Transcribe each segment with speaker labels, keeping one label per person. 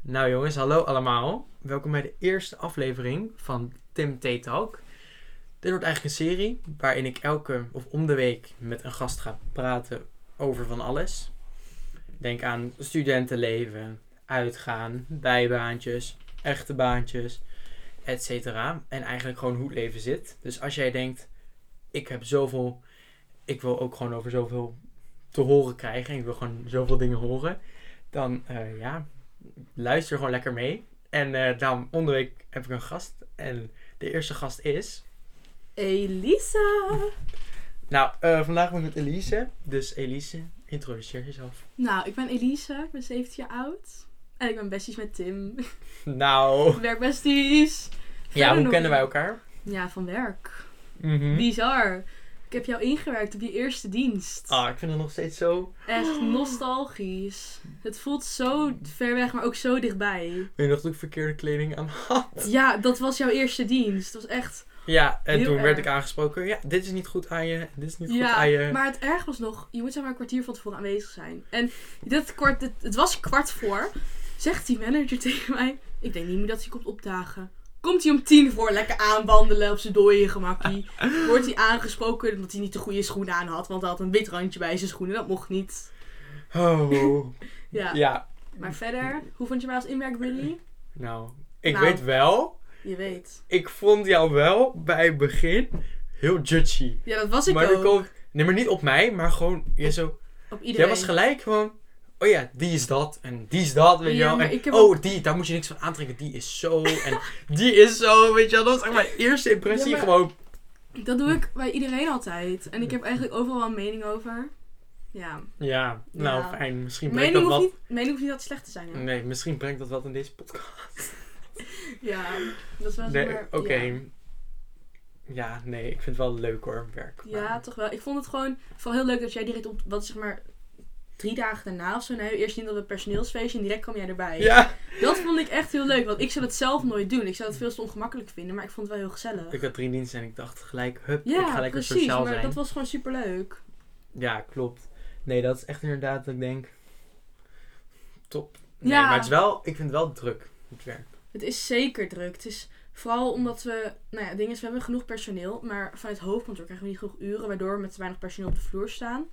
Speaker 1: Nou jongens, hallo allemaal. Welkom bij de eerste aflevering van Tim T Talk. Dit wordt eigenlijk een serie waarin ik elke of om de week met een gast ga praten over van alles. Denk aan studentenleven, uitgaan, bijbaantjes, echte baantjes, etc. En eigenlijk gewoon hoe het leven zit. Dus als jij denkt, ik heb zoveel, ik wil ook gewoon over zoveel te horen krijgen. Ik wil gewoon zoveel dingen horen. Dan eh, ja, luister gewoon lekker mee. En eh, daarom, onderweek heb ik een gast. En de eerste gast is...
Speaker 2: Elisa.
Speaker 1: Nou, eh, vandaag ben ik met Elise. Dus Elise, introduceer jezelf.
Speaker 2: Nou, ik ben Elisa, ik ben 17 jaar oud. En ik ben besties met Tim.
Speaker 1: Nou,
Speaker 2: Werkbesties.
Speaker 1: ja, hoe
Speaker 2: nog
Speaker 1: kennen wij
Speaker 2: iemand?
Speaker 1: elkaar?
Speaker 2: Ja, van werk.
Speaker 1: Mhm.
Speaker 2: Bizar. Ik heb jou ingewerkt op je eerste dienst.
Speaker 1: Ah, ik vind het nog steeds zo...
Speaker 2: Echt nostalgisch. Het voelt zo ver weg, maar ook zo dichtbij.
Speaker 1: Weet je nog dat ik verkeerde kleding aan had?
Speaker 2: Ja, dat was jouw eerste dienst. Dat was echt...
Speaker 1: Ja, en
Speaker 2: Heel
Speaker 1: toen werd ik
Speaker 2: erg.
Speaker 1: aangesproken. Ja, dit is niet goed aan je. Dit is niet goed aan
Speaker 2: Ja,
Speaker 1: je.
Speaker 2: maar het erg was nog, je moet zeg maar een kwartier van tevoren aanwezig zijn. En dit kwart, dit- het was kwart voor, zegt die manager tegen mij, ik denk niet meer dat hij komt opdagen. Komt hij om tien voor, lekker aanwandelen op zijn dooie gemakkie. Wordt hij aangesproken omdat hij niet de goede schoenen aan had, want hij had een wit randje bij zijn schoenen, dat mocht niet.
Speaker 1: Oh.
Speaker 2: Ja,
Speaker 1: ja,
Speaker 2: maar verder, hoe vond je mij als inwerk, Willy?
Speaker 1: nou. Ik
Speaker 2: Nou.
Speaker 1: weet wel.
Speaker 2: Je weet.
Speaker 1: Ik vond jou wel bij het begin heel judgy.
Speaker 2: Ja, dat was ik
Speaker 1: maar dan
Speaker 2: ook.
Speaker 1: komt- Nee, maar niet op mij, maar gewoon... Je zo...
Speaker 2: Op iedereen.
Speaker 1: Jij was gelijk gewoon... Oh ja, die is dat. En die is dat, weet
Speaker 2: Ja,
Speaker 1: je wel.
Speaker 2: maar
Speaker 1: En,
Speaker 2: ik heb
Speaker 1: oh,
Speaker 2: ook-
Speaker 1: die, daar moet je niks van aantrekken. Die is zo. En die is zo, weet je wel. Dat was echt mijn eerste impressie.
Speaker 2: Ja, maar-
Speaker 1: Gewoon...
Speaker 2: Dat doe ik bij iedereen altijd. En ik heb eigenlijk overal wel een mening over. Ja.
Speaker 1: Ja, nou
Speaker 2: Ja.
Speaker 1: fijn. Misschien brengt
Speaker 2: Mening
Speaker 1: dat
Speaker 2: hoeft,
Speaker 1: wat...
Speaker 2: niet, mening hoeft niet altijd slecht te zijn. Hè?
Speaker 1: Nee, misschien brengt dat wat in deze podcast.
Speaker 2: Ja, dat is wel
Speaker 1: Nee,
Speaker 2: maar-
Speaker 1: oké.
Speaker 2: Ja.
Speaker 1: Ja. nee, ik vind het wel leuk hoor, werk.
Speaker 2: Ja,
Speaker 1: Maar-
Speaker 2: toch wel. Ik vond het gewoon vooral heel leuk dat jij direct op, wat zeg maar, drie dagen daarna of zo. Nou, eerst niet op het personeelsfeestje en direct kwam jij erbij.
Speaker 1: Ja,
Speaker 2: Dat vond ik echt heel leuk, want ik zou dat zelf nooit doen. Ik zou het veel te ongemakkelijk vinden, maar ik vond het wel heel gezellig.
Speaker 1: ik had drie diensten en ik dacht gelijk, hup,
Speaker 2: ja,
Speaker 1: ik ga lekker
Speaker 2: precies,
Speaker 1: sociaal
Speaker 2: maar
Speaker 1: zijn.
Speaker 2: dat was gewoon superleuk.
Speaker 1: Ja, klopt. Nee, dat is echt inderdaad dat ik denk... Top. Nee,
Speaker 2: Ja.
Speaker 1: maar het is wel... Ik vind het wel druk, het werk.
Speaker 2: Het is zeker druk. Het is vooral omdat we, nou ja, het ding is, we hebben genoeg personeel, maar vanuit hoofdkantoor krijgen we niet genoeg uren, waardoor we met te weinig personeel op de vloer staan.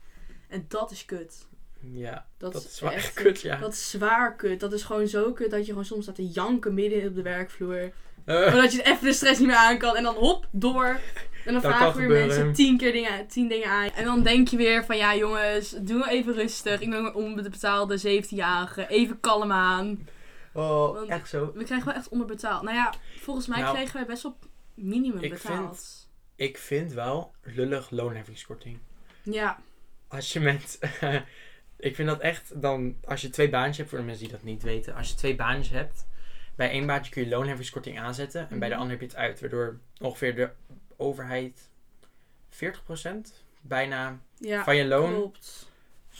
Speaker 2: En dat is kut.
Speaker 1: Ja,
Speaker 2: Dat,
Speaker 1: dat is wel echt
Speaker 2: echt
Speaker 1: kut, ja.
Speaker 2: Dat is zwaar kut. Dat is gewoon zo kut dat je gewoon soms staat te janken midden op de werkvloer.
Speaker 1: Eh,
Speaker 2: Omdat je even de stress niet meer aan kan. En dan hop, door. En dan
Speaker 1: Dat kan
Speaker 2: vragen weer
Speaker 1: gebeuren.
Speaker 2: mensen tien keer dingen, tien dingen aan. En dan denk je weer van ja jongens, doe even rustig. Ik ben een onbetaalde 17-jarige. Even kalm aan.
Speaker 1: oh,
Speaker 2: Want-
Speaker 1: echt zo.
Speaker 2: We krijgen wel echt onderbetaald. Nou ja, volgens mij
Speaker 1: Nou,
Speaker 2: kregen wij best wel minimum
Speaker 1: ik
Speaker 2: betaald.
Speaker 1: Ik vind wel lullig loonheffingskorting.
Speaker 2: Ja,
Speaker 1: Als je met... ik vind dat echt dan... Als je twee baantjes hebt, voor de mensen die dat niet weten. Als je twee baantjes hebt, bij één baantje kun je loonheffingskorting aanzetten. En bij de
Speaker 2: Mhm.
Speaker 1: ander heb je het uit. Waardoor ongeveer de overheid 40% bijna
Speaker 2: ja
Speaker 1: van je loon...
Speaker 2: klopt.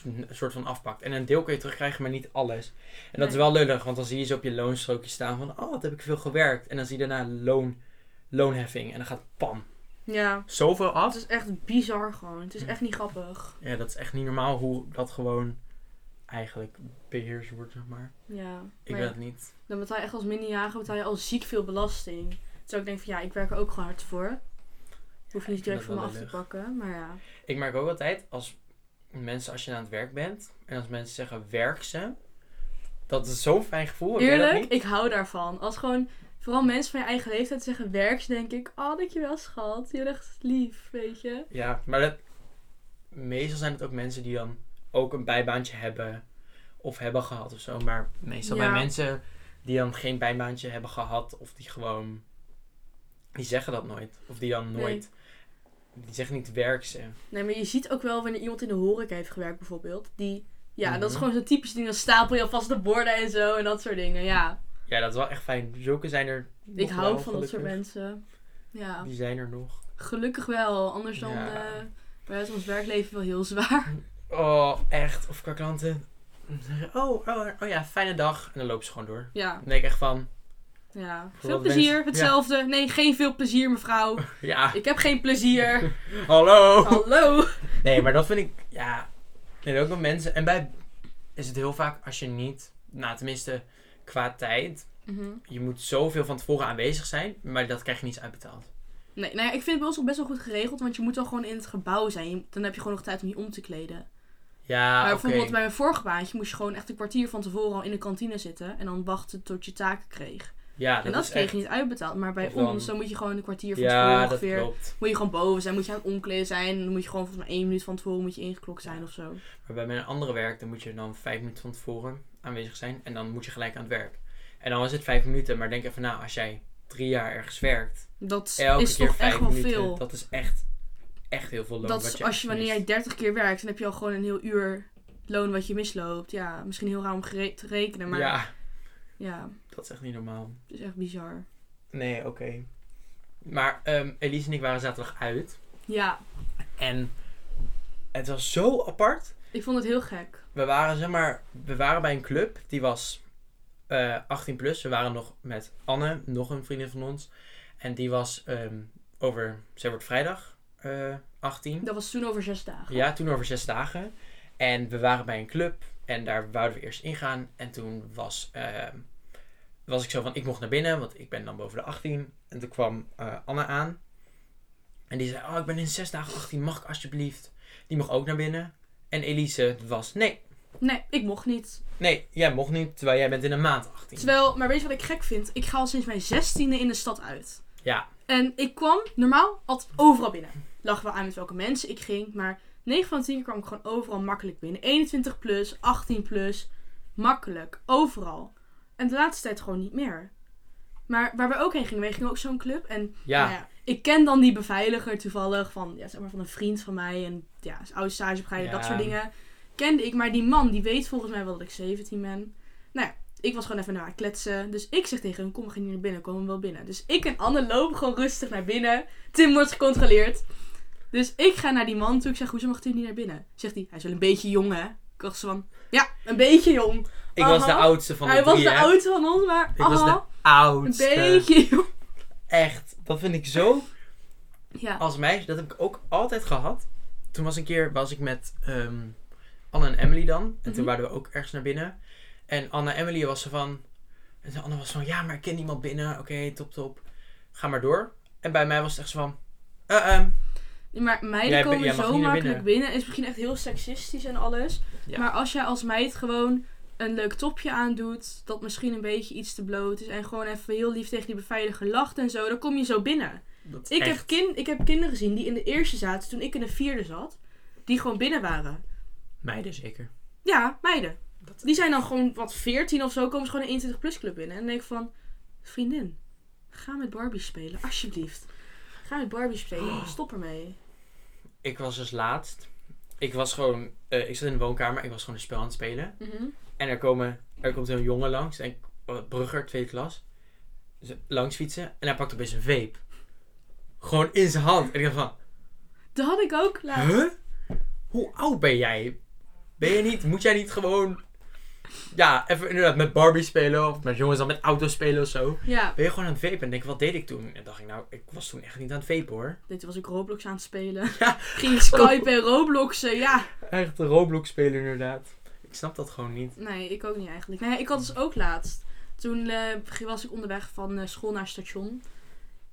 Speaker 1: een soort van afpakt. En een deel kun je terugkrijgen, maar niet alles. En dat is
Speaker 2: Nee.
Speaker 1: wel lullig, want dan zie je ze op je loonstrookje staan van... Oh, wat heb ik veel gewerkt. En dan zie je daarna loon, loonheffing. En dan gaat pam.
Speaker 2: Ja,
Speaker 1: Zoveel
Speaker 2: het
Speaker 1: af.
Speaker 2: is echt bizar gewoon. Het is echt niet grappig.
Speaker 1: Ja, dat is echt niet normaal hoe dat gewoon eigenlijk beheerst wordt, zeg maar.
Speaker 2: Ja.
Speaker 1: Ik weet
Speaker 2: maar ja.
Speaker 1: het niet.
Speaker 2: Dan betaal je echt als minderjarige betaal je al ziek veel belasting. Terwijl ik denk van ja, ik werk er ook gewoon hard voor. Hoef je
Speaker 1: Ja,
Speaker 2: niet
Speaker 1: ik vind
Speaker 2: direct
Speaker 1: dat
Speaker 2: van me
Speaker 1: wel
Speaker 2: af te
Speaker 1: lullig. Oh,
Speaker 2: pakken, maar ja.
Speaker 1: Ik merk ook altijd, als mensen, als je aan het werk bent... En als mensen zeggen, werk ze... Dat is zo'n fijn gevoel. heb jij dat
Speaker 2: Eerlijk,
Speaker 1: niet?
Speaker 2: ik hou daarvan. Als gewoon, vooral mensen van je eigen leeftijd zeggen werks, denk ik, oh dankjewel schat, je bent echt lief, weet je.
Speaker 1: Ja, maar dat, meestal zijn het ook mensen die dan ook een bijbaantje hebben of hebben gehad of zo. Maar meestal
Speaker 2: Ja.
Speaker 1: bij mensen die dan geen bijbaantje hebben gehad of die gewoon, die zeggen dat nooit. Of die dan
Speaker 2: Nee.
Speaker 1: nooit, die zeggen niet werk ze.
Speaker 2: Nee, maar je ziet ook wel wanneer iemand in de horeca heeft gewerkt bijvoorbeeld, die, ja, dat is
Speaker 1: Mhm.
Speaker 2: gewoon zo'n typisch ding, dan stapel je alvast de borden en zo en dat soort dingen, ja.
Speaker 1: Ja, dat is wel echt fijn. Zulke zijn er nog
Speaker 2: Ik hou
Speaker 1: wel,
Speaker 2: van dat soort
Speaker 1: gelukkig.
Speaker 2: mensen. Ja,
Speaker 1: Die zijn er nog.
Speaker 2: gelukkig wel, anders dan,
Speaker 1: Ja.
Speaker 2: eh wij is ons werkleven wel heel zwaar.
Speaker 1: Oh, echt. Of qua klanten. Zeggen, Oh, oh, oh ja, fijne dag. En dan lopen ze gewoon door.
Speaker 2: Ja,
Speaker 1: Dan denk ik echt van,
Speaker 2: ja. Veel
Speaker 1: Vooral
Speaker 2: plezier,
Speaker 1: mensen-
Speaker 2: hetzelfde. Nee, geen veel plezier, mevrouw.
Speaker 1: ja,
Speaker 2: Ik heb geen plezier.
Speaker 1: hallo.
Speaker 2: Oh, Hallo.
Speaker 1: Nee, maar dat vind ik, ja. Er zijn ook nog mensen. En bij is het heel vaak als je niet, nou tenminste, ik qua tijd.
Speaker 2: Mhm.
Speaker 1: Je moet zoveel van tevoren aanwezig zijn, maar dat krijg je niet eens uitbetaald.
Speaker 2: Nee, nou ja, ik vind het bij ons nog best wel goed geregeld, want je moet wel gewoon in het gebouw zijn. Je- Dan heb je gewoon nog tijd om je om te kleden.
Speaker 1: Ja,
Speaker 2: maar
Speaker 1: Ah, oké.
Speaker 2: bijvoorbeeld bij mijn vorige baantje moest je gewoon echt een kwartier van tevoren al in de kantine zitten en dan wachten tot je taken kreeg.
Speaker 1: Ja, dat,
Speaker 2: en dat
Speaker 1: is
Speaker 2: kreeg
Speaker 1: echt...
Speaker 2: je niet uitbetaald, maar bij
Speaker 1: Of dan-
Speaker 2: ons dan moet je gewoon een kwartier van
Speaker 1: Ja,
Speaker 2: tevoren
Speaker 1: dat
Speaker 2: ongeveer.
Speaker 1: klopt.
Speaker 2: Moet je gewoon boven zijn, moet je aan het omkleden zijn. Dan moet je gewoon volgens mij één minuut van tevoren moet je ingeklokt zijn of zo.
Speaker 1: Maar bij mijn andere werk, dan moet je dan vijf minuten van tevoren aanwezig zijn. En dan moet je gelijk aan het werk. En dan is het vijf minuten, maar denk even na, als jij drie jaar ergens werkt.
Speaker 2: Dat
Speaker 1: Elke
Speaker 2: is
Speaker 1: keer
Speaker 2: toch
Speaker 1: vijf
Speaker 2: echt wel
Speaker 1: minuten,
Speaker 2: veel.
Speaker 1: dat is echt, echt heel veel loon.
Speaker 2: Dat
Speaker 1: wat
Speaker 2: is als je, wanneer jij
Speaker 1: mist.
Speaker 2: 30 keer werkt, dan heb je al gewoon een heel uur loon wat je misloopt. Ja, misschien heel raar om gere- te rekenen, maar
Speaker 1: Ja,
Speaker 2: ja,
Speaker 1: dat is echt niet normaal.
Speaker 2: het is echt bizar.
Speaker 1: Nee, oké. Maar ehm, Elise en ik waren zaterdag uit.
Speaker 2: Ja,
Speaker 1: En het was zo apart.
Speaker 2: ik vond het heel gek.
Speaker 1: We waren, zeg maar, we waren bij een club. Die was eh, 18 plus. We waren nog met Anne, nog een vriendin van ons. En die was ehm, over, zij wordt vrijdag eh, 18.
Speaker 2: Dat was toen over zes dagen.
Speaker 1: Ja, toen over zes dagen. En we waren bij een club en daar wouden we eerst ingaan. En toen was, ehm, was ik zo van, ik mocht naar binnen, want ik ben dan boven de 18. En toen kwam eh, Anna aan. En die zei, oh, ik ben in zes dagen 18, mag ik alsjeblieft? Die mocht ook naar binnen. En Elise was, nee,
Speaker 2: Nee, ik mocht niet.
Speaker 1: nee, jij mocht niet, terwijl jij bent in een maand 18.
Speaker 2: Terwijl, maar weet je wat ik gek vind? Ik ga al sinds mijn zestiende in de stad uit.
Speaker 1: Ja.
Speaker 2: En ik kwam normaal altijd overal binnen. Lag wel aan met welke mensen ik ging, maar 9 van de 10 keer kwam ik gewoon overal makkelijk binnen. 21 plus, 18 plus, makkelijk, overal. En de laatste tijd gewoon niet meer. Maar waar we ook heen gingen, we gingen ook zo'n club. En
Speaker 1: Ja,
Speaker 2: nou ja, ik ken dan die beveiliger toevallig van, ja, zeg maar van een vriend van mij en ja, oude stagebegeleider, dat
Speaker 1: Ja.
Speaker 2: soort dingen. Kende ik, maar die man die weet volgens mij wel dat ik 17 ben. Nou ja, ik was gewoon even naar haar kletsen. Dus ik zeg tegen hem, kom we gaan hier naar binnen, komen we wel binnen. Dus ik en Anne lopen gewoon rustig naar binnen. Tim wordt gecontroleerd. Dus ik ga naar die man toe, ik zeg, hoezo mag Tim niet naar binnen? Zegt hij, hij is wel een beetje jong hè? Ik dacht zo van, ja, een beetje jong.
Speaker 1: ik was de
Speaker 2: aha.
Speaker 1: oudste van de
Speaker 2: hij was
Speaker 1: drie,
Speaker 2: de
Speaker 1: hè.
Speaker 2: oudste van ons, maar
Speaker 1: Ik was de
Speaker 2: aha, een
Speaker 1: oudste.
Speaker 2: beetje jong.
Speaker 1: Echt, dat vind ik zo
Speaker 2: Ja.
Speaker 1: als meisje, dat heb ik ook altijd gehad. Toen was een keer was ik met ehm, Anne en Emily dan. En
Speaker 2: Mhm.
Speaker 1: toen waren we ook ergens naar binnen. En Anne en Emily was zo van. En Anne was van, ja, maar ik ken niemand binnen. Oké, top, top. Ga maar door. En bij mij was het echt zo van. eh, ehm,
Speaker 2: Ja, Maar meiden
Speaker 1: Jij be-
Speaker 2: komen
Speaker 1: jij mag
Speaker 2: zo
Speaker 1: niet naar
Speaker 2: makkelijk binnen. Is misschien echt heel seksistisch en alles.
Speaker 1: Ja.
Speaker 2: Maar als jij als meid gewoon een leuk topje aandoet, dat misschien een beetje iets te bloot is en gewoon even heel lief tegen die beveiliger lacht en zo, dan kom je zo binnen.
Speaker 1: dat is
Speaker 2: Ik
Speaker 1: echt-
Speaker 2: heb, kin ik heb kinderen gezien die in de eerste zaten toen ik in de vierde zat, die gewoon binnen waren.
Speaker 1: Meiden zeker.
Speaker 2: Ja, meiden.
Speaker 1: Dat-
Speaker 2: Die zijn dan gewoon wat 14 of zo, komen ze gewoon in een 21-plus club binnen. En dan denk ik van, vriendin, ga met Barbie spelen, alsjeblieft. Ga met Barbie
Speaker 1: Oh.
Speaker 2: spelen, stop ermee.
Speaker 1: Ik was dus laatst. Ik was gewoon. eh, ik zat in de woonkamer. Ik was gewoon een spel aan het spelen.
Speaker 2: Mhm.
Speaker 1: En er, komen, er komt een jongen langs, en Brugger, tweede klas, Ze- langs fietsen en hij pakt opeens een vape. Gewoon in zijn hand. En ik dacht van,
Speaker 2: Dat had ik ook laatst.
Speaker 1: huh? Hoe oud ben jij? Ben je niet, moet jij niet gewoon, ja, even inderdaad met Barbie spelen of met jongens dan met auto's spelen of zo?
Speaker 2: Ja,
Speaker 1: Ben je gewoon aan het vapen? En denk ik, wat deed ik toen? En dacht ik, nou, ik was toen echt niet aan het vapen hoor.
Speaker 2: dit was ik Roblox aan het spelen.
Speaker 1: Ja. Oh.
Speaker 2: Ging ik Skype en Robloxen, ja.
Speaker 1: Echt een Roblox spelen inderdaad. Ik snap dat gewoon niet.
Speaker 2: Nee, ik ook niet eigenlijk. Nee, ik had dus ook laatst. Toen eh, was ik onderweg van eh, school naar het station.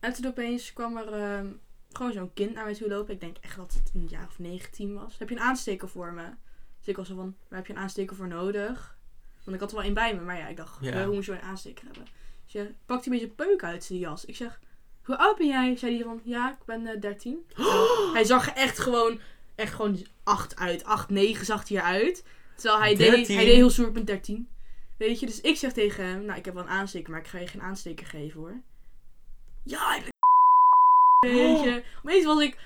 Speaker 2: En toen opeens kwam er ehm, gewoon zo'n kind naar mij toe lopen. Ik denk echt dat het een jaar of 19 was. Heb je een aansteker voor me? Dus ik was zo van, waar heb je een aansteker voor nodig? Want ik had er wel één bij me. Maar ja, ik dacht,
Speaker 1: Ja.
Speaker 2: eh, hoe moet je een aansteker hebben? Dus je pakt een beetje peuk uit zijn jas. Ik zeg, hoe oud ben jij? Zei hij van, ja, ik ben eh, 13. Terwijl hij zag er echt gewoon, echt gewoon 8 uit. 8, 9 zag hij eruit. Terwijl hij deed,
Speaker 1: 13?
Speaker 2: hij deed heel stoer, ik ben 13. Weet je, dus ik zeg tegen hem, nou, ik heb wel een aansteker, maar ik ga je geen aansteker geven hoor. Ja, ik ben
Speaker 1: Oh.
Speaker 2: Weet je. Opeens was ik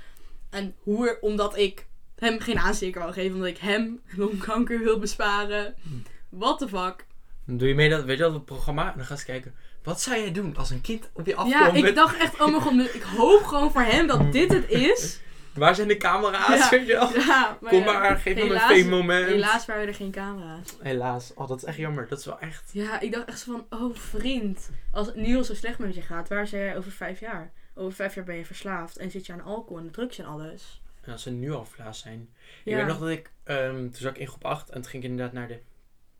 Speaker 2: een hoer, omdat ik hem geen aansteker wou geven, omdat ik hem longkanker wil besparen.
Speaker 1: Hm.
Speaker 2: What the fuck.
Speaker 1: Dan doe je mee dat, weet je dat, het programma? En dan ga eens kijken, wat zou jij doen als een kind op je afkomt
Speaker 2: Ja, ik
Speaker 1: met
Speaker 2: dacht echt, oh mijn god, ik hoop gewoon voor hem dat dit het is.
Speaker 1: Waar zijn de camera's?
Speaker 2: Ja.
Speaker 1: Weet je wel?
Speaker 2: Ja, maar
Speaker 1: Kom
Speaker 2: ja.
Speaker 1: maar, geef me
Speaker 2: Helaas-
Speaker 1: een fame moment.
Speaker 2: Helaas waren er geen camera's.
Speaker 1: Helaas. Oh, dat is echt jammer. Dat is wel echt.
Speaker 2: Ja, ik dacht echt zo van, oh vriend, als Niels zo slecht met je gaat, waar zijn jij over vijf jaar? Over vijf jaar ben je verslaafd en zit je aan alcohol en drugs en alles.
Speaker 1: En als ze nu al vlaas zijn. Ik
Speaker 2: Ja.
Speaker 1: weet nog dat ik. ehm, toen zat ik in groep 8 en toen ging ik inderdaad naar de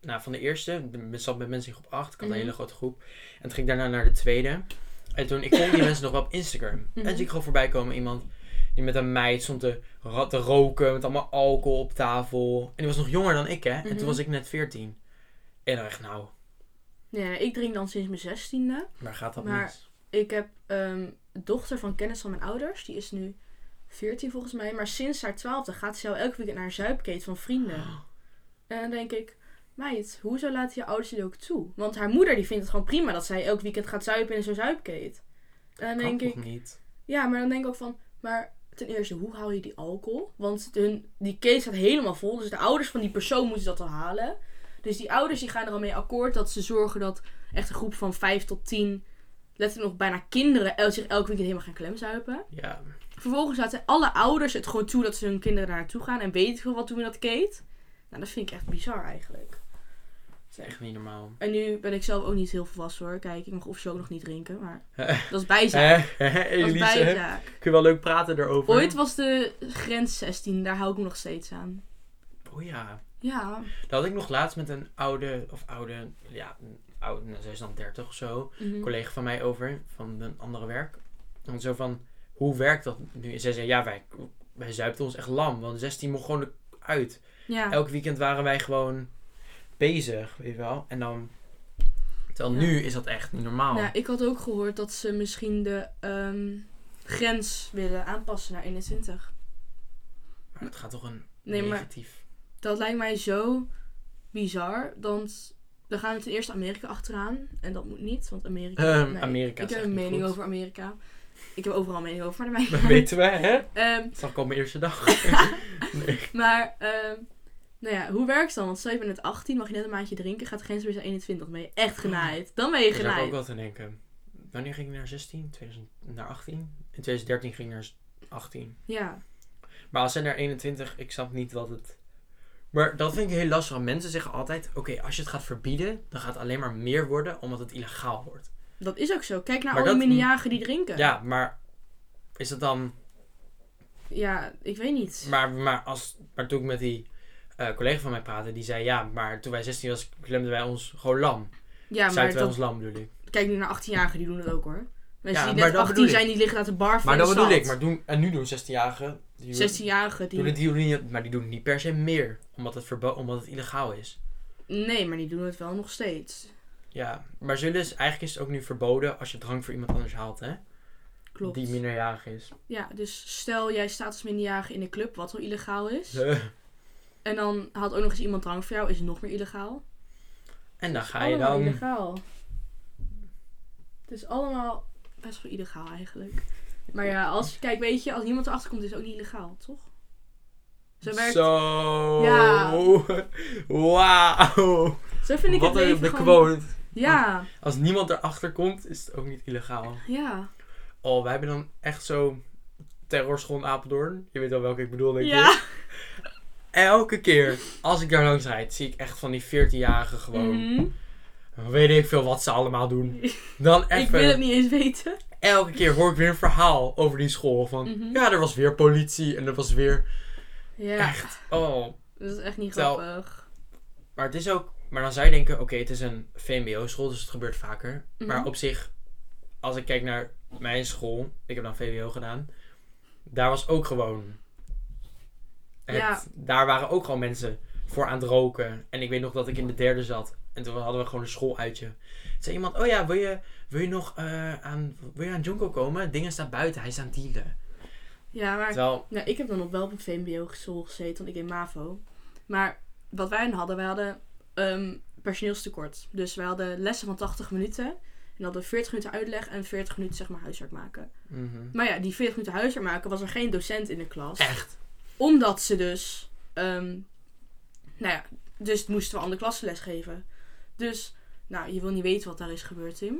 Speaker 1: nou, van de eerste, ik zat met mensen in groep 8, ik had
Speaker 2: Mhm.
Speaker 1: een hele grote groep. En toen ging ik daarna naar de tweede. En toen, ik volgde die mensen nog wel op Instagram. En toen
Speaker 2: Mhm.
Speaker 1: zie ik gewoon voorbij komen iemand die met een meid stond te, ra- te roken, met allemaal alcohol op tafel. En die was nog jonger dan ik, hè. En
Speaker 2: Mhm.
Speaker 1: toen was ik net 14. En dan echt, nou,
Speaker 2: Nee, ik drink dan sinds mijn zestiende.
Speaker 1: waar gaat dat
Speaker 2: Maar-
Speaker 1: mis?
Speaker 2: Ik heb ehm dochter van kennis van mijn ouders. Die is nu 14 volgens mij. Maar sinds haar twaalfde gaat ze al elke weekend naar een zuipkeet van vrienden. En dan denk ik, meid, hoezo laten je ouders dit ook toe? Want haar moeder die vindt het gewoon prima dat zij elk weekend gaat zuipen in zo'n zuipkeet. En dan
Speaker 1: Kan
Speaker 2: denk
Speaker 1: toch
Speaker 2: ik,
Speaker 1: niet?
Speaker 2: ja, maar dan denk ik ook van, maar ten eerste, hoe haal je die alcohol? Want hun, die keet staat helemaal vol, dus de ouders van die persoon moeten dat al halen. Dus die ouders die gaan er al mee akkoord dat ze zorgen dat echt een groep van 5 tot 10, letterlijk nog bijna kinderen, el- zich elk weekend helemaal gaan klemzuipen.
Speaker 1: Ja.
Speaker 2: Vervolgens laten alle ouders het gewoon toe dat ze hun kinderen daar naartoe gaan en weet ik veel wat doen we dat keet. Nou, dat vind ik echt bizar eigenlijk.
Speaker 1: Dat is echt niet normaal.
Speaker 2: En nu ben ik zelf ook niet heel volwassen hoor. Kijk, ik mag officieel ook nog niet drinken, maar
Speaker 1: Eh,
Speaker 2: dat is bijzaak.
Speaker 1: Hè?
Speaker 2: Dat is
Speaker 1: Elise,
Speaker 2: bijzaak.
Speaker 1: kun je wel leuk praten daarover?
Speaker 2: Ooit was de grens 16, daar hou ik me nog steeds aan.
Speaker 1: Oh ja.
Speaker 2: Ja.
Speaker 1: Dat had ik nog laatst met een oude, of oude, ja, een oude, nou, zij is dan 30 of zo,
Speaker 2: Mhm. Hm.
Speaker 1: een collega van mij over, van een andere werk. En zo van, hoe werkt dat nu? En zij zei, ja, wij, wij zuipten ons echt lam, want 16 mocht gewoon uit.
Speaker 2: Ja.
Speaker 1: Elk weekend waren wij gewoon bezig, weet je wel. En dan, terwijl
Speaker 2: Ja.
Speaker 1: nu is dat echt niet normaal.
Speaker 2: Nou, ik had ook gehoord dat ze misschien de ehm, grens willen aanpassen naar 21.
Speaker 1: Maar dat gaat toch een
Speaker 2: Nee, maar-
Speaker 1: negatief...
Speaker 2: Dat lijkt mij zo bizar, want dan gaan we ten eerste Amerika achteraan. En dat moet niet, want Amerika...
Speaker 1: Ehm, Amerika
Speaker 2: Ik
Speaker 1: is
Speaker 2: heb
Speaker 1: echt
Speaker 2: een
Speaker 1: niet
Speaker 2: mening
Speaker 1: goed.
Speaker 2: over Amerika. Ik heb overal een mening over, maar
Speaker 1: Dat
Speaker 2: daarmee...
Speaker 1: weten wij, hè?
Speaker 2: Ehm,
Speaker 1: Dat zag ik al mijn eerste dag.
Speaker 2: Maar, ehm, nou ja, hoe werkt het dan? Want stel je bent net 18, mag je net een maandje drinken, gaat de grens weer naar 21, dan ben je echt genaaid. Dan ben je
Speaker 1: Daar zou ik ook
Speaker 2: genaaid.
Speaker 1: wel te denken. Wanneer ging ik naar 16? 2000, naar 18? In 2013 ging ik naar 18.
Speaker 2: Ja.
Speaker 1: Maar als zij naar 21, ik snap niet wat het... Maar dat vind ik heel lastig. want Mensen zeggen altijd, oké, als je het gaat verbieden, dan gaat het alleen maar meer worden, omdat het illegaal wordt.
Speaker 2: Dat is ook zo. Kijk naar
Speaker 1: Maar
Speaker 2: al die
Speaker 1: dat-
Speaker 2: minderjarigen die drinken.
Speaker 1: Ja, maar is dat dan...
Speaker 2: Ja, ik weet niet.
Speaker 1: Maar, maar, als, maar toen ik met die eh, collega van mij praatte, die zei, ja, maar toen wij 16 was, klemden wij ons gewoon lam.
Speaker 2: ja, maar
Speaker 1: Zuiden wij
Speaker 2: dat,
Speaker 1: ons lam, bedoel ik.
Speaker 2: kijk nu naar 18-jarigen, die doen dat ook hoor. Mensen
Speaker 1: Ja,
Speaker 2: die
Speaker 1: maar
Speaker 2: net
Speaker 1: dat
Speaker 2: 18
Speaker 1: bedoel ik.
Speaker 2: zijn, die liggen uit de bar
Speaker 1: Maar
Speaker 2: van
Speaker 1: dat
Speaker 2: de
Speaker 1: bedoel
Speaker 2: stad.
Speaker 1: ik. Maar doen, en nu doen 16-jarigen... die doen-
Speaker 2: 16-jarigen die...
Speaker 1: Doen het, die doen niet, maar die doen het niet per se meer, omdat het, verbo- omdat het illegaal is.
Speaker 2: Nee, maar die doen het wel nog steeds.
Speaker 1: Ja, maar zullen is, eigenlijk is het ook nu verboden als je drank voor iemand anders haalt, hè?
Speaker 2: Klopt.
Speaker 1: Die minderjarig is.
Speaker 2: Ja, dus stel jij staat als minderjarige in de club, wat al illegaal is. En dan haalt ook nog eens iemand drank voor jou, is nog meer illegaal.
Speaker 1: En dan
Speaker 2: is
Speaker 1: ga je
Speaker 2: allemaal
Speaker 1: dan...
Speaker 2: illegaal. Het is allemaal best wel illegaal eigenlijk. Maar ja, als, kijk, weet je, als niemand erachter komt, is het ook niet illegaal, toch? Zo werkt. Zo,
Speaker 1: Zo.
Speaker 2: Ja.
Speaker 1: Wauw.
Speaker 2: vind ik
Speaker 1: Wat
Speaker 2: het
Speaker 1: een
Speaker 2: leven
Speaker 1: de
Speaker 2: gewoon-
Speaker 1: quote.
Speaker 2: Ja,
Speaker 1: Als niemand erachter komt, is het ook niet illegaal.
Speaker 2: ja.
Speaker 1: Oh, wij hebben dan echt zo... Terrorschool in Apeldoorn. Je weet wel welke ik bedoel, denk ik.
Speaker 2: Ja.
Speaker 1: Elke keer als ik daar langs rijd, zie ik echt van die 14-jarigen gewoon...
Speaker 2: Mhm.
Speaker 1: Weet ik veel wat ze allemaal doen. Dan echt
Speaker 2: Ik
Speaker 1: verder.
Speaker 2: wil het niet eens weten.
Speaker 1: elke keer hoor ik weer een verhaal over die school. Van
Speaker 2: Mhm.
Speaker 1: ja, er was weer politie en er was weer.
Speaker 2: Ja,
Speaker 1: Oh,
Speaker 2: dat is echt niet
Speaker 1: Tel-
Speaker 2: grappig.
Speaker 1: maar het is ook. Maar dan zou je denken: oké, het is een VMBO-school, dus het gebeurt vaker.
Speaker 2: Mhm.
Speaker 1: Maar op zich, als ik kijk naar mijn school, ik heb dan VWO gedaan, daar was ook gewoon. Het,
Speaker 2: Ja.
Speaker 1: Daar waren ook gewoon mensen voor aan het roken. En ik weet nog dat ik in de derde zat. En toen hadden we gewoon een schooluitje. Toen zei iemand, oh ja, wil je, wil je nog eh, aan, wil je aan Junko komen? Dingen staat buiten, hij is aan het dealen.
Speaker 2: Ja, maar
Speaker 1: Terwijl,
Speaker 2: Nou, ik heb dan nog wel op een VMBO-school gezeten, want ik deed MAVO. Maar wat wij dan hadden, wij hadden ehm, personeelstekort. Dus wij hadden lessen van 80 minuten. En hadden 40 minuten uitleg en 40 minuten zeg maar huiswerk maken.
Speaker 1: mhm.
Speaker 2: Maar ja, die 40 minuten huiswerk maken was er geen docent in de klas.
Speaker 1: echt.
Speaker 2: Omdat ze dus, ehm, nou ja, dus moesten we andere klassenles geven. Dus, nou, je wil niet weten wat daar is gebeurd, Tim.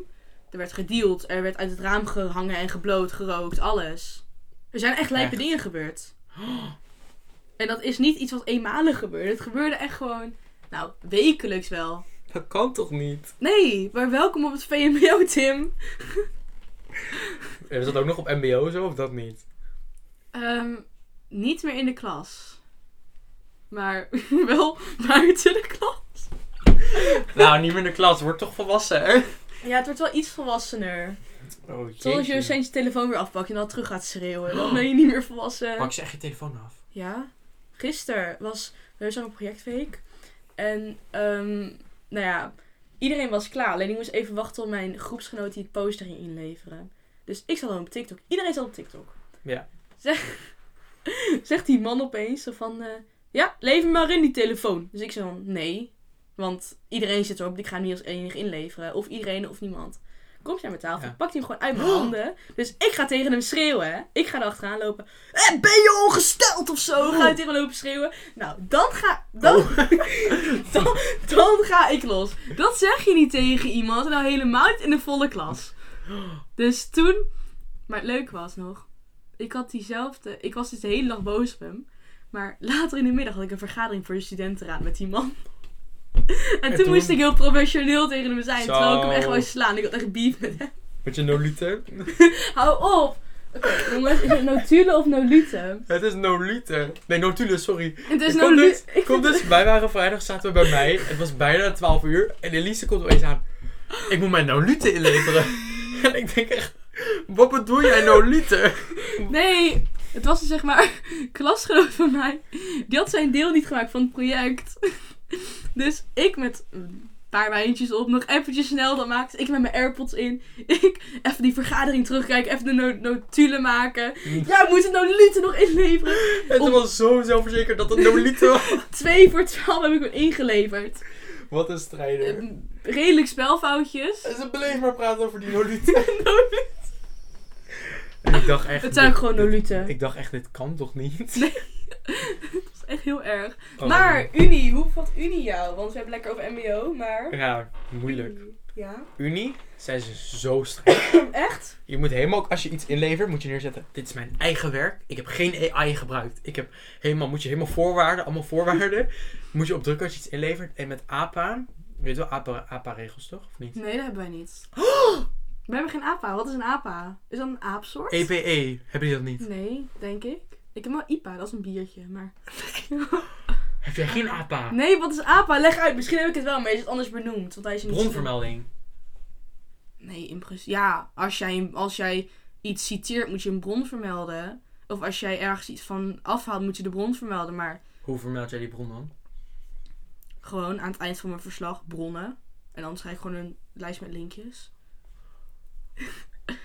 Speaker 2: Er werd gedeeld, er werd uit het raam gehangen en gebloot, gerookt, alles. Er zijn echt lijpe
Speaker 1: Echt?
Speaker 2: dingen gebeurd. En dat is niet iets wat eenmalig gebeurde. Het gebeurde echt gewoon, nou, wekelijks wel.
Speaker 1: Dat kan toch niet?
Speaker 2: Nee, maar welkom op het VMBO, Tim.
Speaker 1: Is dat ook nog op MBO zo of dat niet?
Speaker 2: Ehm, niet meer in de klas. Maar wel buiten de klas.
Speaker 1: nou, niet meer in de klas. Word toch volwassen, hè?
Speaker 2: Ja, het wordt wel iets volwassener.
Speaker 1: Oh,
Speaker 2: Totdat je steeds je telefoon weer afpakt en dan terug gaat schreeuwen. Dan ben je niet meer volwassen.
Speaker 1: Pak je echt je telefoon af.
Speaker 2: Ja, gisteren was Leurzaam Projectweek. En, ehm, nou ja, iedereen was klaar. Alleen ik moest even wachten op mijn groepsgenoot die het poster ging inleveren. Dus ik zat dan op TikTok. Iedereen zat op TikTok.
Speaker 1: Ja.
Speaker 2: Zeg, zegt die man opeens zo van... eh, ja, lever maar in die telefoon. Dus ik zei dan, nee. Want iedereen zit erop, ik ga hem niet als enige inleveren. Of iedereen of niemand. Komt hij aan mijn tafel,
Speaker 1: Ja.
Speaker 2: pakt hij hem gewoon uit mijn handen. Dus ik ga tegen hem schreeuwen. hè. Ik ga er achteraan lopen. Eh, ben je ongesteld of zo? Oh. Ga je tegen hem lopen schreeuwen. Nou, dan ga, dan, dan, dan ga ik los. Dat zeg je niet tegen iemand. en Nou, helemaal niet in de volle klas. Dus toen... Maar het leuke was nog... Ik had diezelfde... Ik was dus de hele dag boos op hem. Maar later in de middag had ik een vergadering voor de studentenraad met die man. En, toen,
Speaker 1: toen-
Speaker 2: moest ik heel professioneel tegen hem zijn.
Speaker 1: Zo.
Speaker 2: Terwijl ik hem echt wou slaan. Ik had echt beef met hem.
Speaker 1: Met je nolite?
Speaker 2: Hou op! Oké, jongens, is het notulen of noluten?
Speaker 1: Het is nolite. Nee, notule, sorry.
Speaker 2: Het is
Speaker 1: Ik kom
Speaker 2: noluten.
Speaker 1: dus- Kom dus, wij waren vrijdag, zaten we bij mij. Het was bijna 12 uur. En Elise komt opeens aan. Ik moet mijn nolite inleveren. en ik denk echt, wat bedoel jij nolite?
Speaker 2: Nee, het was dus zeg maar een klasgenoot van mij. Die had zijn deel niet gemaakt van het project. Dus ik met een paar wijntjes op, nog eventjes snel, dan maakte ik met mijn airpods in. Ik even die vergadering terugkijken, even de no- notulen maken. Ja, moet het noluten nog inleveren.
Speaker 1: Het was zo zelfverzekerd dat het nolite was.
Speaker 2: Twee voor twaalf heb ik hem ingeleverd.
Speaker 1: Wat een strijder.
Speaker 2: Eh, Redelijk spelfoutjes.
Speaker 1: En ze bleef maar praten over die nolite. En ik dacht echt...
Speaker 2: Het zijn
Speaker 1: dit-
Speaker 2: gewoon
Speaker 1: dit-
Speaker 2: noluten.
Speaker 1: Ik dacht echt, dit kan toch niet?
Speaker 2: Dat is echt heel erg.
Speaker 1: Oh.
Speaker 2: Maar Unie, hoe vat Unie jou? Want we hebben lekker over MBO, maar.
Speaker 1: Ja, moeilijk.
Speaker 2: Ja.
Speaker 1: Unie, zijn ze zo streng.
Speaker 2: Echt?
Speaker 1: Je moet helemaal, ook als je iets inlevert, moet je neerzetten. Dit is mijn eigen werk. Ik heb geen AI gebruikt. Ik heb helemaal, moet je helemaal voorwaarden, allemaal voorwaarden. Moet je opdrukken als je iets inlevert. En met APA, weet je wel, APA, APA-regels toch? Of niet?
Speaker 2: Nee, dat hebben wij niet. We hebben geen APA. Wat is een APA? Is dat een aapsoort?
Speaker 1: E EPE, hebben die dat niet?
Speaker 2: Nee, denk ik. Ik heb wel IPA, dat is een biertje, maar...
Speaker 1: Heb jij geen APA?
Speaker 2: Nee, wat is APA? Leg uit, misschien heb ik het wel, maar is het anders benoemd? Want hij is niet...
Speaker 1: Bronvermelding.
Speaker 2: Nee, in principe... Ja, als jij, als jij iets citeert, moet je een bron vermelden. Of als jij ergens iets van afhaalt, moet je de bron vermelden. Maar
Speaker 1: Hoe vermeld jij die bron dan?
Speaker 2: gewoon aan het eind van mijn verslag, bronnen. En dan schrijf ik gewoon een lijst met linkjes.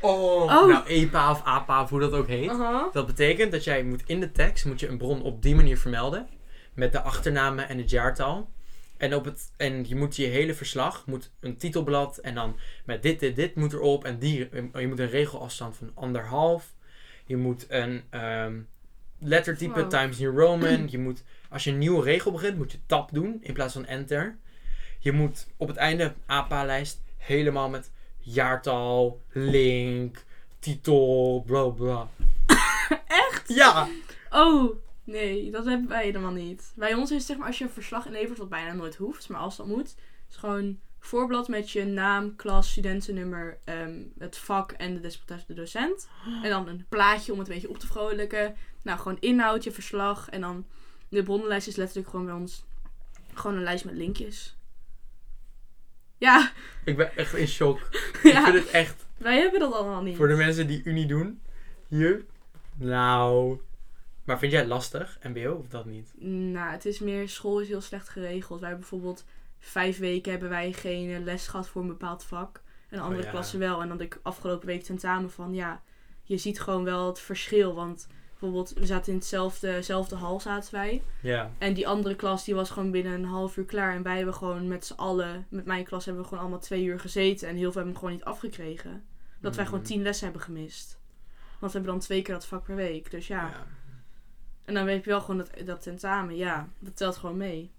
Speaker 1: Oh,
Speaker 2: Oh.
Speaker 1: nou EPA of APA, of hoe dat ook heet.
Speaker 2: Aha.
Speaker 1: Dat betekent dat jij moet in de tekst moet je een bron op die manier vermelden. Met de achternamen en het jaartal. En, op het, en je moet je hele verslag, moet een titelblad en dan met dit, dit, dit moet erop. En die, je moet een regelafstand van anderhalf. Je moet een ehm, lettertype
Speaker 2: Wow.
Speaker 1: Times New Roman. Je moet, als je een nieuwe regel begint, moet je tab doen in plaats van enter. Je moet op het einde APA-lijst helemaal met jaartal, link, titel, bla bla. Echt? Ja.
Speaker 2: Oh, nee, dat hebben wij helemaal niet. Bij ons is het zeg maar als je een verslag inlevert, wat bijna nooit hoeft, maar als dat moet, is gewoon voorblad met je naam, klas, studentennummer, ehm, het vak en de desbetreffende docent. En dan een plaatje om het een beetje op te vrolijken. Nou, gewoon inhoud, je verslag en dan de bronnenlijst is letterlijk gewoon bij ons gewoon een lijst met linkjes. Ja,
Speaker 1: Ik ben echt in shock. Ik vind
Speaker 2: ja
Speaker 1: het echt,
Speaker 2: wij hebben dat allemaal niet.
Speaker 1: voor de mensen die Unie doen, hier. Nou. Maar vind jij het lastig, MBO, of dat niet?
Speaker 2: Nou, het is meer, school is heel slecht geregeld. Wij hebben bijvoorbeeld vijf weken hebben wij geen eh, les gehad voor een bepaald vak. En andere
Speaker 1: Oh ja.
Speaker 2: klassen wel. En dan had ik afgelopen week tentamen van, ja, je ziet gewoon wel het verschil. Want bijvoorbeeld, we zaten in hetzelfde hetzelfde hal zaten wij.
Speaker 1: Ja.
Speaker 2: En die andere klas, die was gewoon binnen een half uur klaar. En wij hebben gewoon met z'n allen, met mijn klas, hebben we gewoon allemaal twee uur gezeten. En heel veel hebben hem gewoon niet afgekregen. Dat wij gewoon
Speaker 1: Mhm.
Speaker 2: tien lessen hebben gemist. Want we hebben dan twee keer dat vak per week. Dus ja. En dan weet je wel gewoon dat, dat tentamen, ja, dat telt gewoon mee.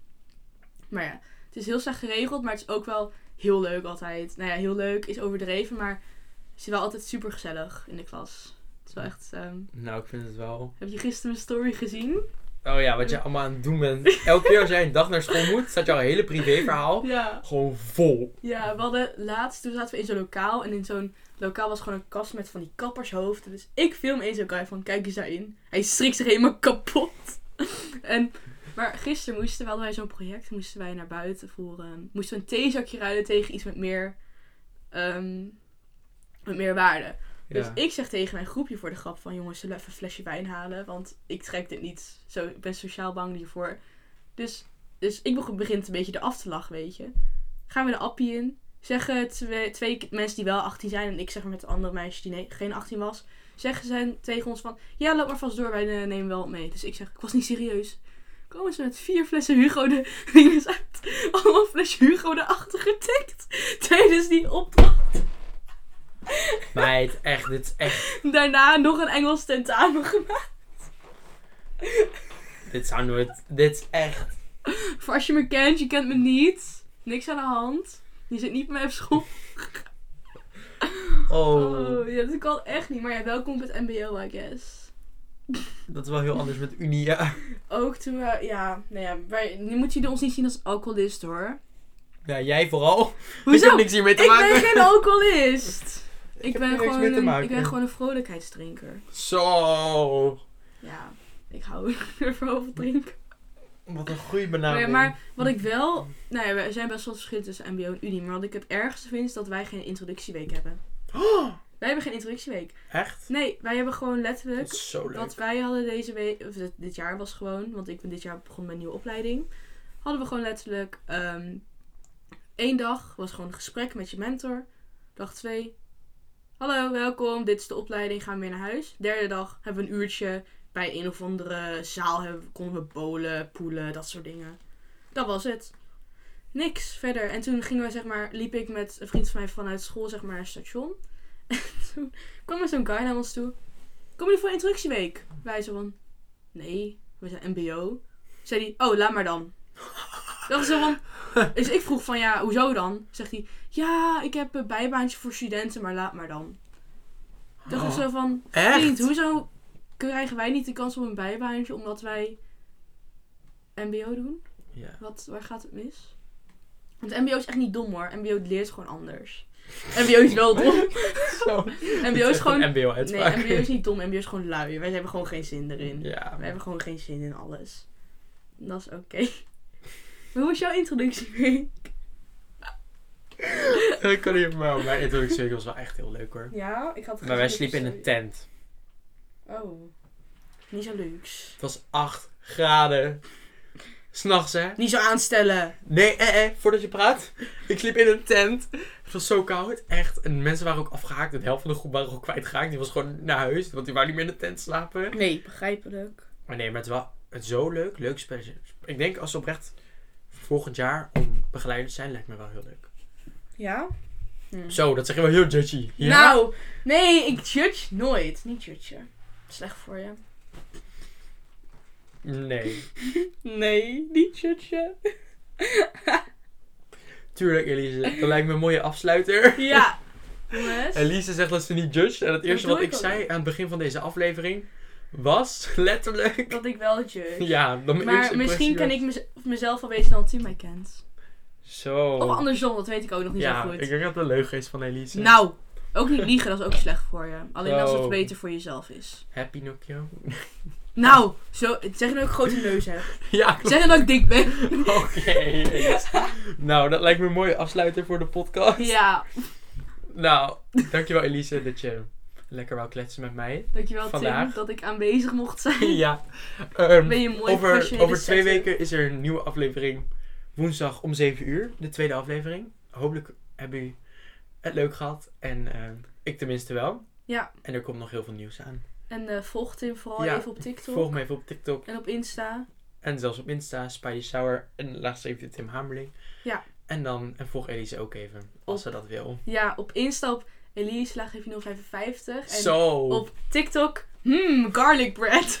Speaker 2: Maar ja, het is heel slecht geregeld, maar het is ook wel heel leuk altijd. Nou ja, heel leuk is overdreven, maar het is wel altijd super gezellig in de klas. Het is wel echt. ehm,
Speaker 1: Nou, ik vind het wel.
Speaker 2: Heb je gisteren mijn story gezien?
Speaker 1: Oh ja, wat jij allemaal aan het doen bent. Elke keer als jij een dag naar school moet, staat jouw hele privéverhaal
Speaker 2: Ja.
Speaker 1: gewoon vol.
Speaker 2: Ja, we hadden laatst, toen zaten we in zo'n lokaal. En in zo'n lokaal was gewoon een kast met van die kappershoofden. Dus ik film eens zo'n guy van, kijk eens daarin. Hij schrikt zich helemaal kapot. en Maar gisteren moesten we, hadden wij zo'n project, moesten wij naar buiten voor, ehm, moesten we een theezakje ruilen tegen iets met meer, ehm, met meer waarde.
Speaker 1: Ja.
Speaker 2: Dus ik zeg tegen mijn groepje voor de grap van jongens, zullen we even een flesje wijn halen? Want ik trek dit niet. Zo, ik ben sociaal bang hiervoor. Dus, dus ik beg- begin het een beetje eraf te lachen, weet je. Gaan we de appie in. Zeggen twee, twee k- mensen die wel 18 zijn en ik zeg maar met de andere meisje die nee, geen 18 was. Zeggen ze tegen ons van, ja loop maar vast door, wij eh, nemen wel mee. Dus ik zeg, ik was niet serieus. Komen ze met vier flessen Hugo de dinges uit. Allemaal flesje Hugo de achter getikt. Tijdens die opdracht.
Speaker 1: Meid, echt, dit is echt...
Speaker 2: Daarna nog een Engels tentamen gemaakt.
Speaker 1: Dit zou nooit... Dit is echt...
Speaker 2: Voor als je me kent, je kent me niet. Niks aan de hand. Je zit niet met mij op school.
Speaker 1: Oh,
Speaker 2: Oh, ja, dat kan echt niet. Maar ja, welkom op het MBO, I guess.
Speaker 1: dat is wel heel anders met Unia.
Speaker 2: Ook toen we, ja, nou ja, wij, nu moet jullie ons niet zien als alcoholist hoor.
Speaker 1: Ja, jij vooral. Ik
Speaker 2: Hoezo?
Speaker 1: heb niks hiermee te
Speaker 2: Ik
Speaker 1: maken.
Speaker 2: ben geen alcoholist. Ik,
Speaker 1: heb
Speaker 2: ben
Speaker 1: hier niks
Speaker 2: gewoon
Speaker 1: mee te
Speaker 2: een, ik
Speaker 1: maken.
Speaker 2: ben gewoon een vrolijkheidsdrinker.
Speaker 1: Zo.
Speaker 2: Ja, ik hou ervan over drinken.
Speaker 1: Wat een goede
Speaker 2: Maar,
Speaker 1: benaming.
Speaker 2: ja, maar wat ik wel, nou ja, er zijn best wel verschillen tussen MBO en Unie. Maar wat ik het ergste vind is dat wij geen introductieweek hebben. Wij hebben geen introductieweek.
Speaker 1: Echt?
Speaker 2: Nee, wij hebben gewoon letterlijk
Speaker 1: Dat is zo leuk.
Speaker 2: Wat wij hadden deze week, of dit, dit jaar was gewoon, want ik ben dit jaar begonnen met een nieuwe opleiding. Hadden we gewoon letterlijk ehm één dag was gewoon een gesprek met je mentor. Dag twee. Hallo, welkom. Dit is de opleiding. Gaan we weer naar huis. Derde dag hebben we een uurtje bij een of andere zaal. Hebben, we- konden we bolen, poelen, dat soort dingen. Dat was het. Niks verder. En toen gingen we, zeg maar, liep ik met een vriend van mij vanuit school, zeg maar, naar het station. En toen kwam er zo'n guy naar ons toe. Kom jullie voor introductieweek? Wij zo van, nee, we zijn mbo. Zei hij, oh, laat maar dan. Dacht zo van, dus ik vroeg van, ja, hoezo dan? Zegt hij, ja, ik heb een bijbaantje voor studenten, maar laat maar dan. Dacht ik
Speaker 1: Oh,
Speaker 2: zo van,
Speaker 1: Echt?
Speaker 2: vriend, hoezo krijgen wij niet de kans op een bijbaantje omdat wij mbo doen?
Speaker 1: Ja.
Speaker 2: Wat, waar gaat het mis? Want mbo is echt niet dom hoor. Mbo leert gewoon anders. mbo is wel dom.
Speaker 1: Zo.
Speaker 2: mbo is gewoon...
Speaker 1: MBO
Speaker 2: Nee,
Speaker 1: uitspraak.
Speaker 2: mbo is niet dom. Mbo is gewoon lui. Wij hebben gewoon geen zin erin.
Speaker 1: Ja.
Speaker 2: We hebben gewoon geen zin in alles. Dat is oké. Maar Hoe was jouw introductie mee?
Speaker 1: Ik kan niet maar mijn introductie was wel echt heel leuk hoor.
Speaker 2: Ja, ik had
Speaker 1: Maar wij sliepen in een tent.
Speaker 2: Oh. Niet zo luxe.
Speaker 1: Het was 8 graden. S'nachts hè?
Speaker 2: Niet zo aanstellen.
Speaker 1: Nee, eh, eh, voordat je praat. Ik sliep in een tent. Het was zo koud, echt. En mensen waren ook afgehaakt. De helft van de groep waren ook kwijtgeraakt. Die was gewoon naar huis, want die waren niet meer in de tent slapen.
Speaker 2: Nee, begrijpelijk.
Speaker 1: Maar nee, maar het is wel het is zo leuk. Leuk spelletje. Ik denk als ze oprecht volgend jaar om begeleiders zijn, lijkt me wel heel leuk.
Speaker 2: Ja?
Speaker 1: Zo, dat zeg je wel heel judgy. Ja?
Speaker 2: Hm. Nou, nee, ik judge nooit. Niet judgen. Slecht voor je.
Speaker 1: Nee.
Speaker 2: Nee, niet judgen.
Speaker 1: Tuurlijk, Elise. Dat lijkt me een mooie afsluiter.
Speaker 2: Ja. Jongens.
Speaker 1: Elise zegt dat ze niet judge. En het eerste
Speaker 2: doe
Speaker 1: wat
Speaker 2: ik
Speaker 1: ik
Speaker 2: ook
Speaker 1: zei
Speaker 2: niet.
Speaker 1: aan het begin van deze aflevering was letterlijk.
Speaker 2: Dat ik wel judge.
Speaker 1: Ja, dan mijn
Speaker 2: Maar
Speaker 1: eerste
Speaker 2: misschien
Speaker 1: impressie
Speaker 2: kan
Speaker 1: was-
Speaker 2: ik mez- mezelf al weten dan Tim mij kent.
Speaker 1: Zo.
Speaker 2: Of andersom, dat weet ik ook nog niet
Speaker 1: Oh. ja,
Speaker 2: zo goed.
Speaker 1: ik denk dat het Oh. een leugen is van Elise.
Speaker 2: Nou, ook niet liegen, dat is ook slecht voor je. Alleen als het
Speaker 1: Zo.
Speaker 2: beter voor jezelf is.
Speaker 1: Happy Nokio.
Speaker 2: Nou, zo, zeg dat ik grote neus heb.
Speaker 1: ja, klopt.
Speaker 2: Zeg nou dat ik dik ben.
Speaker 1: Oké. yes. nou, dat lijkt me een mooie afsluiter voor de podcast.
Speaker 2: Ja,
Speaker 1: Nou, dankjewel Elise dat je lekker wou kletsen met mij.
Speaker 2: dankjewel Tim
Speaker 1: Vandaag.
Speaker 2: dat ik aanwezig mocht zijn.
Speaker 1: ja. ehm,
Speaker 2: Ben je mooi
Speaker 1: over,
Speaker 2: professionele
Speaker 1: over twee
Speaker 2: setter.
Speaker 1: weken is er een nieuwe aflevering. Woensdag om 7 uur. De tweede aflevering. Hopelijk hebben jullie het leuk gehad. En ehm, ik tenminste wel.
Speaker 2: Ja.
Speaker 1: En er komt nog heel veel nieuws aan.
Speaker 2: En eh, volg Tim vooral
Speaker 1: Ja,
Speaker 2: even op TikTok
Speaker 1: Volg me even op TikTok.
Speaker 2: en op Insta.
Speaker 1: En zelfs op Insta, Spidey Sour en laatst even Tim Hamerling.
Speaker 2: Ja.
Speaker 1: En dan, en volg Elise ook even, als ze dat wil.
Speaker 2: Ja, op Insta op Elise, laag even 055. En
Speaker 1: Zo!
Speaker 2: op TikTok, hmm, garlic bread.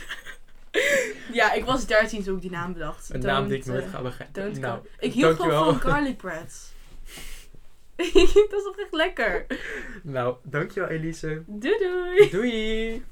Speaker 2: ja, ik was 13 toen ik die naam bedacht.
Speaker 1: een naam die ik
Speaker 2: Don't,
Speaker 1: nooit
Speaker 2: eh,
Speaker 1: ga
Speaker 2: Don't
Speaker 1: begrijpen.
Speaker 2: nou,
Speaker 1: Nou,
Speaker 2: ik hield
Speaker 1: dankjewel.
Speaker 2: gewoon van garlic bread. dat is oprecht lekker.
Speaker 1: Nou, dankjewel Elise.
Speaker 2: Doei doei.
Speaker 1: Doei!